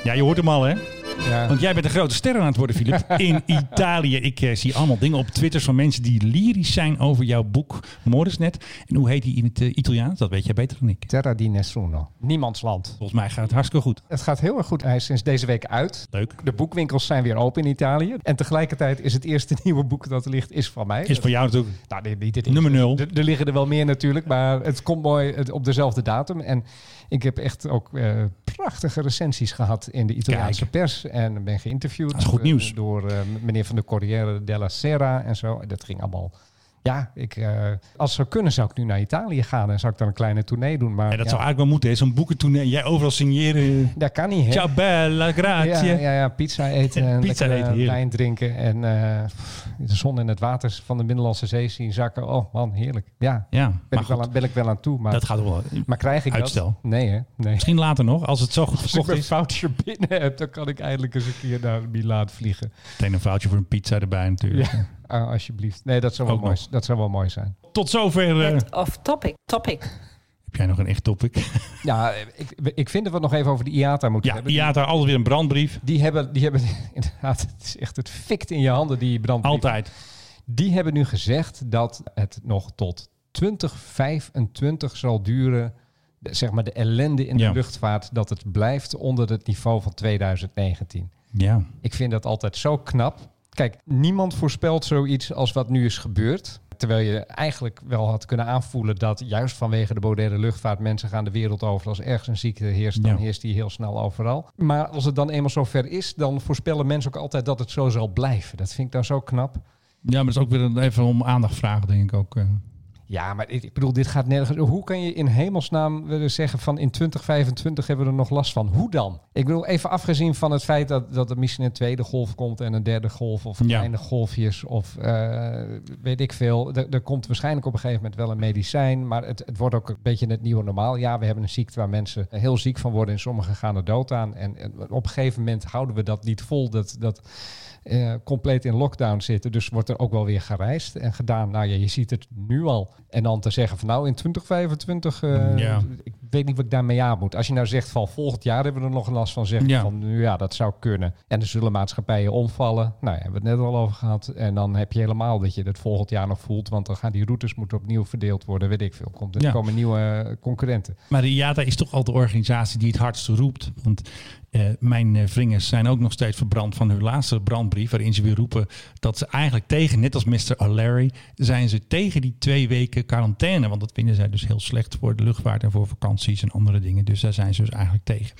S2: Ja, je hoort hem al, hè?
S1: Ja.
S2: Want jij bent een grote ster aan het worden, Filip. In Italië. Ik eh, zie allemaal dingen op Twitter van mensen die lyrisch zijn over jouw boek Morisnet. En hoe heet die in het eh, Italiaans? Dat weet jij beter dan ik.
S1: Terra di Nessuno. Niemands land.
S2: Volgens mij gaat het hartstikke goed.
S1: Het gaat heel erg goed. Hij is sinds deze week uit.
S2: Leuk.
S1: De boekwinkels zijn weer open in Italië. En tegelijkertijd is het eerste nieuwe boek dat er ligt, is van mij.
S2: Is voor jou natuurlijk
S1: Nou, dit, dit, dit is-
S2: nummer nul.
S1: Er, er liggen er wel meer natuurlijk, maar het komt mooi het- op dezelfde datum. En ik heb echt ook eh, prachtige recensies gehad in de Italiaanse
S2: Kijk.
S1: pers. En ben geïnterviewd
S2: Dat is goed
S1: eh,
S2: nieuws.
S1: door eh, meneer van de Corriere della Sera en zo. Dat ging allemaal... Ja, ik, eh, als zou kunnen zou ik nu naar Italië gaan en zou ik dan een kleine tournee doen. Maar
S2: Ja, dat
S1: ja,
S2: zou eigenlijk wel moeten, hè? Zo'n boekentournee. Jij overal signeren. eh,
S1: dat kan niet, hè?
S2: Ciao, bella,
S1: Ja,
S2: grazie.
S1: ja, ja, pizza eten en
S2: Pizza
S1: lekker,
S2: eten,
S1: eh,
S2: heerlijk.
S1: wijn drinken en eh, pff, de zon en het water van de Middellandse Zee zien zakken. Oh man, heerlijk. Ja,
S2: Ja,
S1: ben,
S2: maar
S1: ik wel,
S2: goed.
S1: aan, ben ik wel aan toe. Maar,
S2: Dat gaat wel.
S1: maar krijg ik
S2: Uitstel.
S1: dat? Nee hè? Nee.
S2: Misschien later nog, als het zo goed
S1: Als ik
S2: verkocht
S1: mijn
S2: is.
S1: foutje binnen heb, dan kan ik eindelijk eens een keer naar Milaan vliegen.
S2: Meteen een voucher voor een pizza erbij natuurlijk.
S1: Ja, ah, alsjeblieft. Nee, dat zou, wel
S2: Ook
S1: mooi,
S2: nog.
S1: dat zou wel mooi zijn.
S2: Tot zover. eh,
S10: Head of topic. Topic.
S2: heb jij nog een echt topic?
S1: Ja, ik, ik vind dat we het nog even over de IATA moeten
S2: Ja,
S1: hebben.
S2: ja daar altijd weer een brandbrief.
S1: Die hebben, die hebben inderdaad, het is echt het fikt in je handen die brandbrief.
S2: Altijd.
S1: Die hebben nu gezegd dat het nog tot 2025 zal duren. de- Zeg maar de ellende in
S2: Ja.
S1: de luchtvaart, dat het blijft onder het niveau van 2019.
S2: Ja.
S1: Ik vind dat altijd zo knap. Kijk, niemand voorspelt zoiets als wat nu is gebeurd. terwijl je eigenlijk wel had kunnen aanvoelen dat juist vanwege de moderne luchtvaart mensen gaan de wereld over. Als ergens een ziekte heerst, dan
S2: Ja.
S1: heerst die heel snel overal. Maar als het dan eenmaal zover is, dan voorspellen mensen ook altijd dat het zo zal blijven. Dat vind ik dan zo knap.
S2: Ja, maar dat is ook weer een- even om aandacht vragen, denk ik ook. eh.
S1: Ja, maar ik, ik bedoel, dit gaat nergens. Hoe kan je in hemelsnaam willen zeggen van in 2025 hebben we er nog last van? Hoe dan? Ik bedoel, even afgezien van het feit dat, dat er misschien een tweede golf komt en een derde golf of
S2: Ja.
S1: kleine golfjes of eh, weet ik veel. Er, er komt waarschijnlijk op een gegeven moment wel een medicijn, maar het, het wordt ook een beetje het nieuwe normaal. Ja, we hebben een ziekte waar mensen heel ziek van worden en sommigen gaan er dood aan. En, en op een gegeven moment houden we dat niet vol, dat, dat eh, compleet in lockdown zitten. Dus wordt er ook wel weer gereisd en gedaan. Nou ja, je ziet het nu al. En dan te zeggen van nou in 2025, eh,
S2: Mm, Ja.
S1: ik weet niet wat ik daarmee aan moet. Als je nou zegt van volgend jaar hebben we er nog last van, zeg ik
S2: Ja.
S1: van nu ja, dat zou kunnen. En er zullen maatschappijen omvallen. Nou, ja, hebben we het net al over gehad. En dan heb je helemaal dat je dat volgend jaar nog voelt, want dan gaan die routes moeten opnieuw verdeeld worden, weet ik veel. Komt, er
S2: Ja.
S1: komen nieuwe concurrenten.
S2: Maar de IATA is toch al de organisatie die het hardst roept. Want eh, mijn eh, vingers zijn ook nog steeds verbrand van hun laatste brandbrief. Waarin ze weer roepen dat ze eigenlijk tegen, net als Mr. O'Leary, zijn ze tegen die twee weken quarantaine. Want dat vinden zij dus heel slecht voor de luchtvaart en voor vakanties en andere dingen. Dus daar zijn ze dus eigenlijk tegen.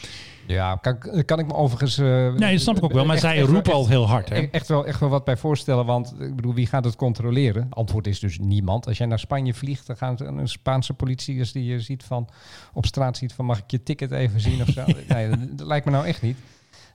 S1: Ja, kan, ik- kan ik me overigens. eh,
S2: Nee, dat snap ik ook wel, maar zij roepen al heel hard, hè?
S1: e- Echt wel, echt wel wat bij voorstellen, want ik bedoel, wie gaat het controleren? Antwoord is dus niemand. Als jij naar Spanje vliegt, dan gaan ze- een Spaanse politie als die je ziet van op straat ziet van mag ik je ticket even zien of zo. Nee, dat, dat lijkt me nou echt niet.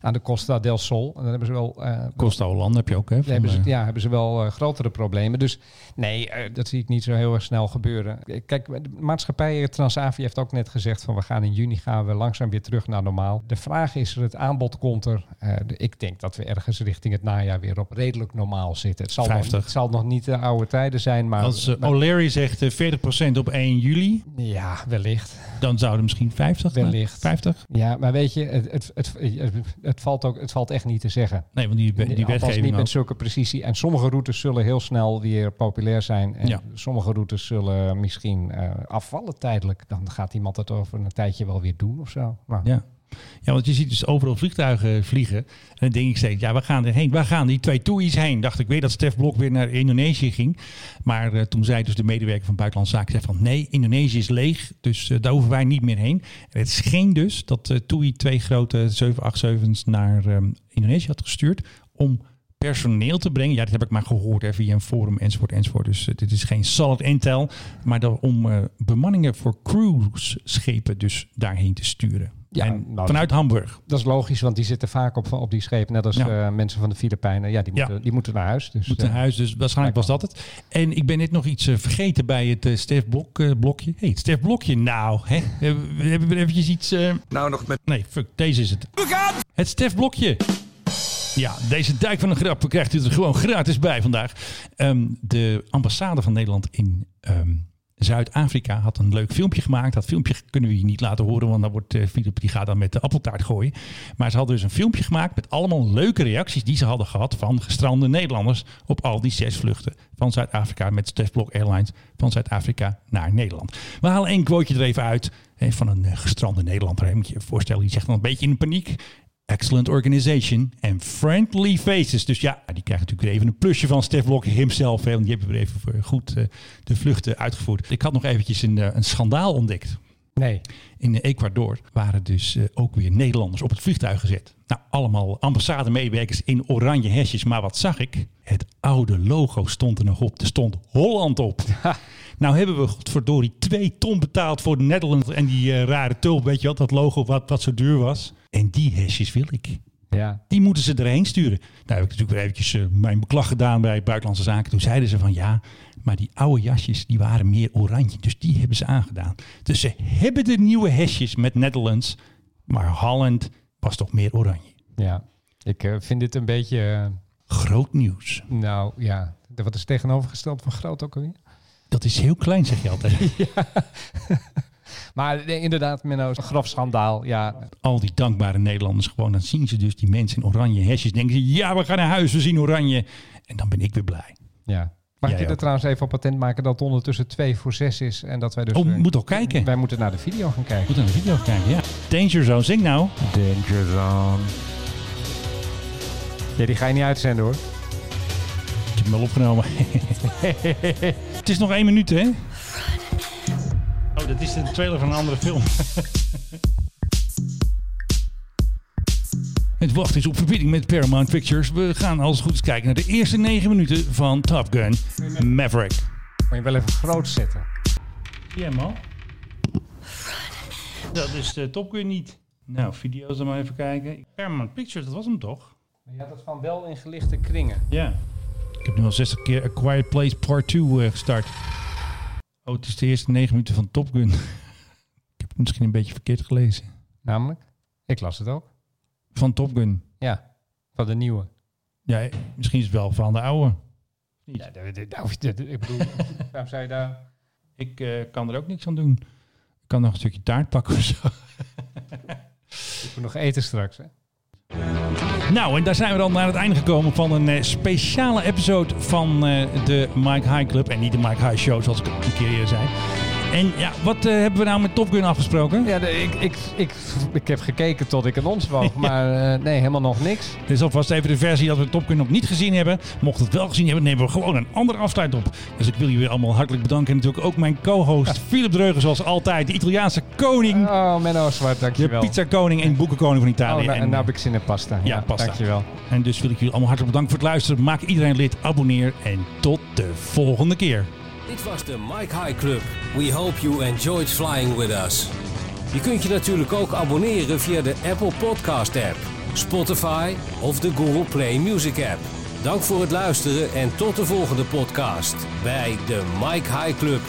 S1: Aan de Costa del Sol. En dan hebben ze wel eh,
S2: Costa Hollande heb je ook, hè?
S1: ja,
S2: van,
S1: hebben ze,
S2: eh,
S1: ja, hebben ze wel eh, grotere problemen. Dus nee, eh, dat zie ik niet zo heel erg snel gebeuren. Eh, Kijk, de maatschappij eh, Transavia heeft ook net gezegd van we gaan in juni gaan we langzaam weer terug naar normaal. De vraag is er, het aanbod komt er. Eh, de- ik denk dat we ergens richting het najaar weer op redelijk normaal zitten. Het zal, nog,
S2: 50.
S1: het zal nog niet de oude tijden zijn, maar
S2: Als eh, O'Leary zegt eh, 40% op 1 juli,
S1: ja, wellicht.
S2: dan zouden misschien 50. nou,
S1: Wellicht.
S2: 50?
S1: Ja, maar weet je, het, het, het, het, het valt, ook, het valt echt niet te zeggen.
S2: Nee, want die, die
S1: Die Althans
S2: wetgeving
S1: niet
S2: ook.
S1: met zulke precisie. En sommige routes zullen heel snel weer populair zijn. En
S2: Ja.
S1: sommige routes zullen misschien eh, afvallen tijdelijk. Dan gaat iemand dat over een tijdje wel weer doen of zo. Maar,
S2: Ja. ja, want je ziet dus overal vliegtuigen vliegen. En dan denk ik steeds, ja, we gaan erheen. Waar gaan die twee toeis heen? Dacht ik weer dat Stef Blok weer naar Indonesië ging. Maar eh, toen zei dus de medewerker van Buitenlandse Zaken... zei van nee, Indonesië is leeg, dus eh, daar hoeven wij niet meer heen. En het scheen dus dat eh Toei twee grote 787's naar eh, Indonesië had gestuurd... om personeel te brengen. Ja, dat heb ik maar gehoord hè, via een forum enzovoort enzovoort. Dus eh, dit is geen solid intel, maar dat om eh, bemanningen voor cruiseschepen dus daarheen te sturen.
S1: Ja,
S2: en
S1: nou, dat-
S2: vanuit Hamburg.
S1: Dat is logisch, want die zitten vaak op, op die schepen. Net als
S2: Ja.
S1: eh, mensen van de Filipijnen. Ja, die
S2: Ja.
S1: moeten, die moeten naar huis. Dus,
S2: Moet naar
S1: eh,
S2: huis, dus waarschijnlijk was dat het. En ik ben net nog iets eh, vergeten bij het eh Stef Blok, eh, blokje. Hé, hey, het Stef Blokje, nou. Hè? We hebben- We hebben weer eventjes iets... Nou, nog met... Nee, fuck, deze is het. Het Stef Blokje. Ja, deze dijk van een grap krijgt u er gewoon gratis bij vandaag. Ehm, de ambassade van Nederland in ehm, Zuid-Afrika had een leuk filmpje gemaakt. Dat filmpje kunnen we je niet laten horen, want dan wordt eh, Philip die gaat dan met de appeltaart gooien. Maar ze hadden dus een filmpje gemaakt met allemaal leuke reacties die ze hadden gehad van gestrande Nederlanders op al die zes vluchten van Zuid-Afrika met Stef Blok Airlines van Zuid-Afrika naar Nederland. We halen één quoteje er even uit eh, van een eh, gestrande Nederlander. hè. Moet je je voorstellen, die zegt dan een beetje in paniek. Excellent organization en friendly faces. Dus ja, die krijgt natuurlijk weer even een plusje van Stef Blok himself. Hè, want die hebben weer even voor goed eh, de vluchten uitgevoerd. Ik had nog eventjes een, eh, een schandaal ontdekt.
S1: Nee.
S2: In eh, Ecuador waren dus eh, ook weer Nederlanders op het vliegtuig gezet. Nou, allemaal ambassademedewerkers in oranje hesjes. Maar wat zag ik? Het oude logo stond er nog op. Er stond Holland op. Nou hebben we godverdorie twee ton betaald voor de Netherlands en die eh, rare tulp. Weet je wat, dat logo wat, wat zo duur was. En die hesjes wil ik.
S1: Ja.
S2: Die moeten ze erheen sturen. Daar heb ik natuurlijk weer eventjes eh, mijn beklag gedaan bij Buitenlandse Zaken. Toen zeiden ze van ja, maar die oude jasjes die waren meer oranje. Dus die hebben ze aangedaan. Dus ze hebben de nieuwe hesjes met Netherlands. Maar Holland was toch meer oranje.
S1: ja. Ik eh, vind dit een beetje... eh,
S2: Groot nieuws.
S1: nou ja, wat is tegenovergesteld van groot ook alweer?
S2: Dat is heel klein zeg je altijd.
S1: Maar nee, inderdaad, Menno, een grof schandaal. Ja,
S2: Al die dankbare Nederlanders gewoon. Dan zien ze dus die mensen in oranje hesjes. Denken ze ja we gaan naar huis, we zien oranje. En dan ben ik weer blij.
S1: Ja. Mag
S2: Jij
S1: ik je er
S2: ook.
S1: trouwens even op patent maken dat het ondertussen 2 voor 6 is en dat wij dus...
S2: Oh,
S1: eh,
S2: moet toch kijken.
S1: Wij moeten naar de video gaan kijken.
S2: Moet naar de video kijken, ja. Danger Zone, zing nou.
S1: Danger Zone. Ja, die ga je niet uitzenden hoor.
S2: Ik heb hem al opgenomen. het is nog één minuut, hè? Oh, dat is de trailer van een andere film. Het wacht is op verbinding met Paramount Pictures. We gaan als het goed is kijken naar de eerste negen minuten van Top Gun Maverick.
S1: Moet je wel even groot zetten.
S2: Ja, man. Dat is de Top Gun niet. Nou, video's dan maar even kijken. Paramount Pictures, dat was hem toch?
S1: Je had het van wel in gelichte kringen.
S2: Ja. Ik heb nu al 60 keer A Quiet Place Part 2 eh, gestart. Oh, het is de eerste 9 minuten van Top Gun. ik heb het misschien een beetje verkeerd gelezen.
S1: Namelijk? Ik las het ook.
S2: Van Top Gun.
S1: Ja, van de nieuwe.
S2: Ja, eh, misschien is het wel van de oude.
S1: Ja, dat- dat- dat- dat- nou, ik bedoel, waarom zou je daar...
S2: Ik eh, kan er ook niks aan doen. Ik kan nog een stukje taart pakken of zo.
S1: Ik moet nog eten straks, hè?
S2: Nou, en daar zijn we dan aan het einde gekomen van een eh, speciale episode van eh, de Mike High Club. En niet de Mike High Show, zoals ik het een keer eerder zei. En ja, wat eh, hebben we nou met Top Gun afgesproken?
S1: Ja, de- ik, ik, ik, ik heb gekeken tot ik een ons woog, maar eh, nee, helemaal nog niks.
S2: Dit is alvast even de versie dat we Top Gun nog niet gezien hebben. Mocht het wel gezien hebben, nemen we gewoon een andere afsluit op. Dus ik wil jullie allemaal hartelijk bedanken. En natuurlijk ook mijn co-host Philip Dreugen, zoals altijd. De Italiaanse koning,
S1: Oh, Menno Zwart,
S2: de
S1: dankjewel.
S2: pizza koning en boekenkoning van Italië.
S1: Oh, nou,
S2: En, eh,
S1: en nou heb ik zin in pasta.
S2: ja, pasta.
S1: Dankjewel.
S2: En dus wil ik jullie allemaal hartelijk bedanken voor het luisteren. Maak iedereen lid, abonneer en tot de volgende keer.
S5: Dit was de Mike High Club. We hope you enjoyed flying with us. Je kunt je natuurlijk ook abonneren via de Apple Podcast app, Spotify of de Google Play Music app. Dank voor het luisteren en tot de volgende podcast bij de Mike High Club.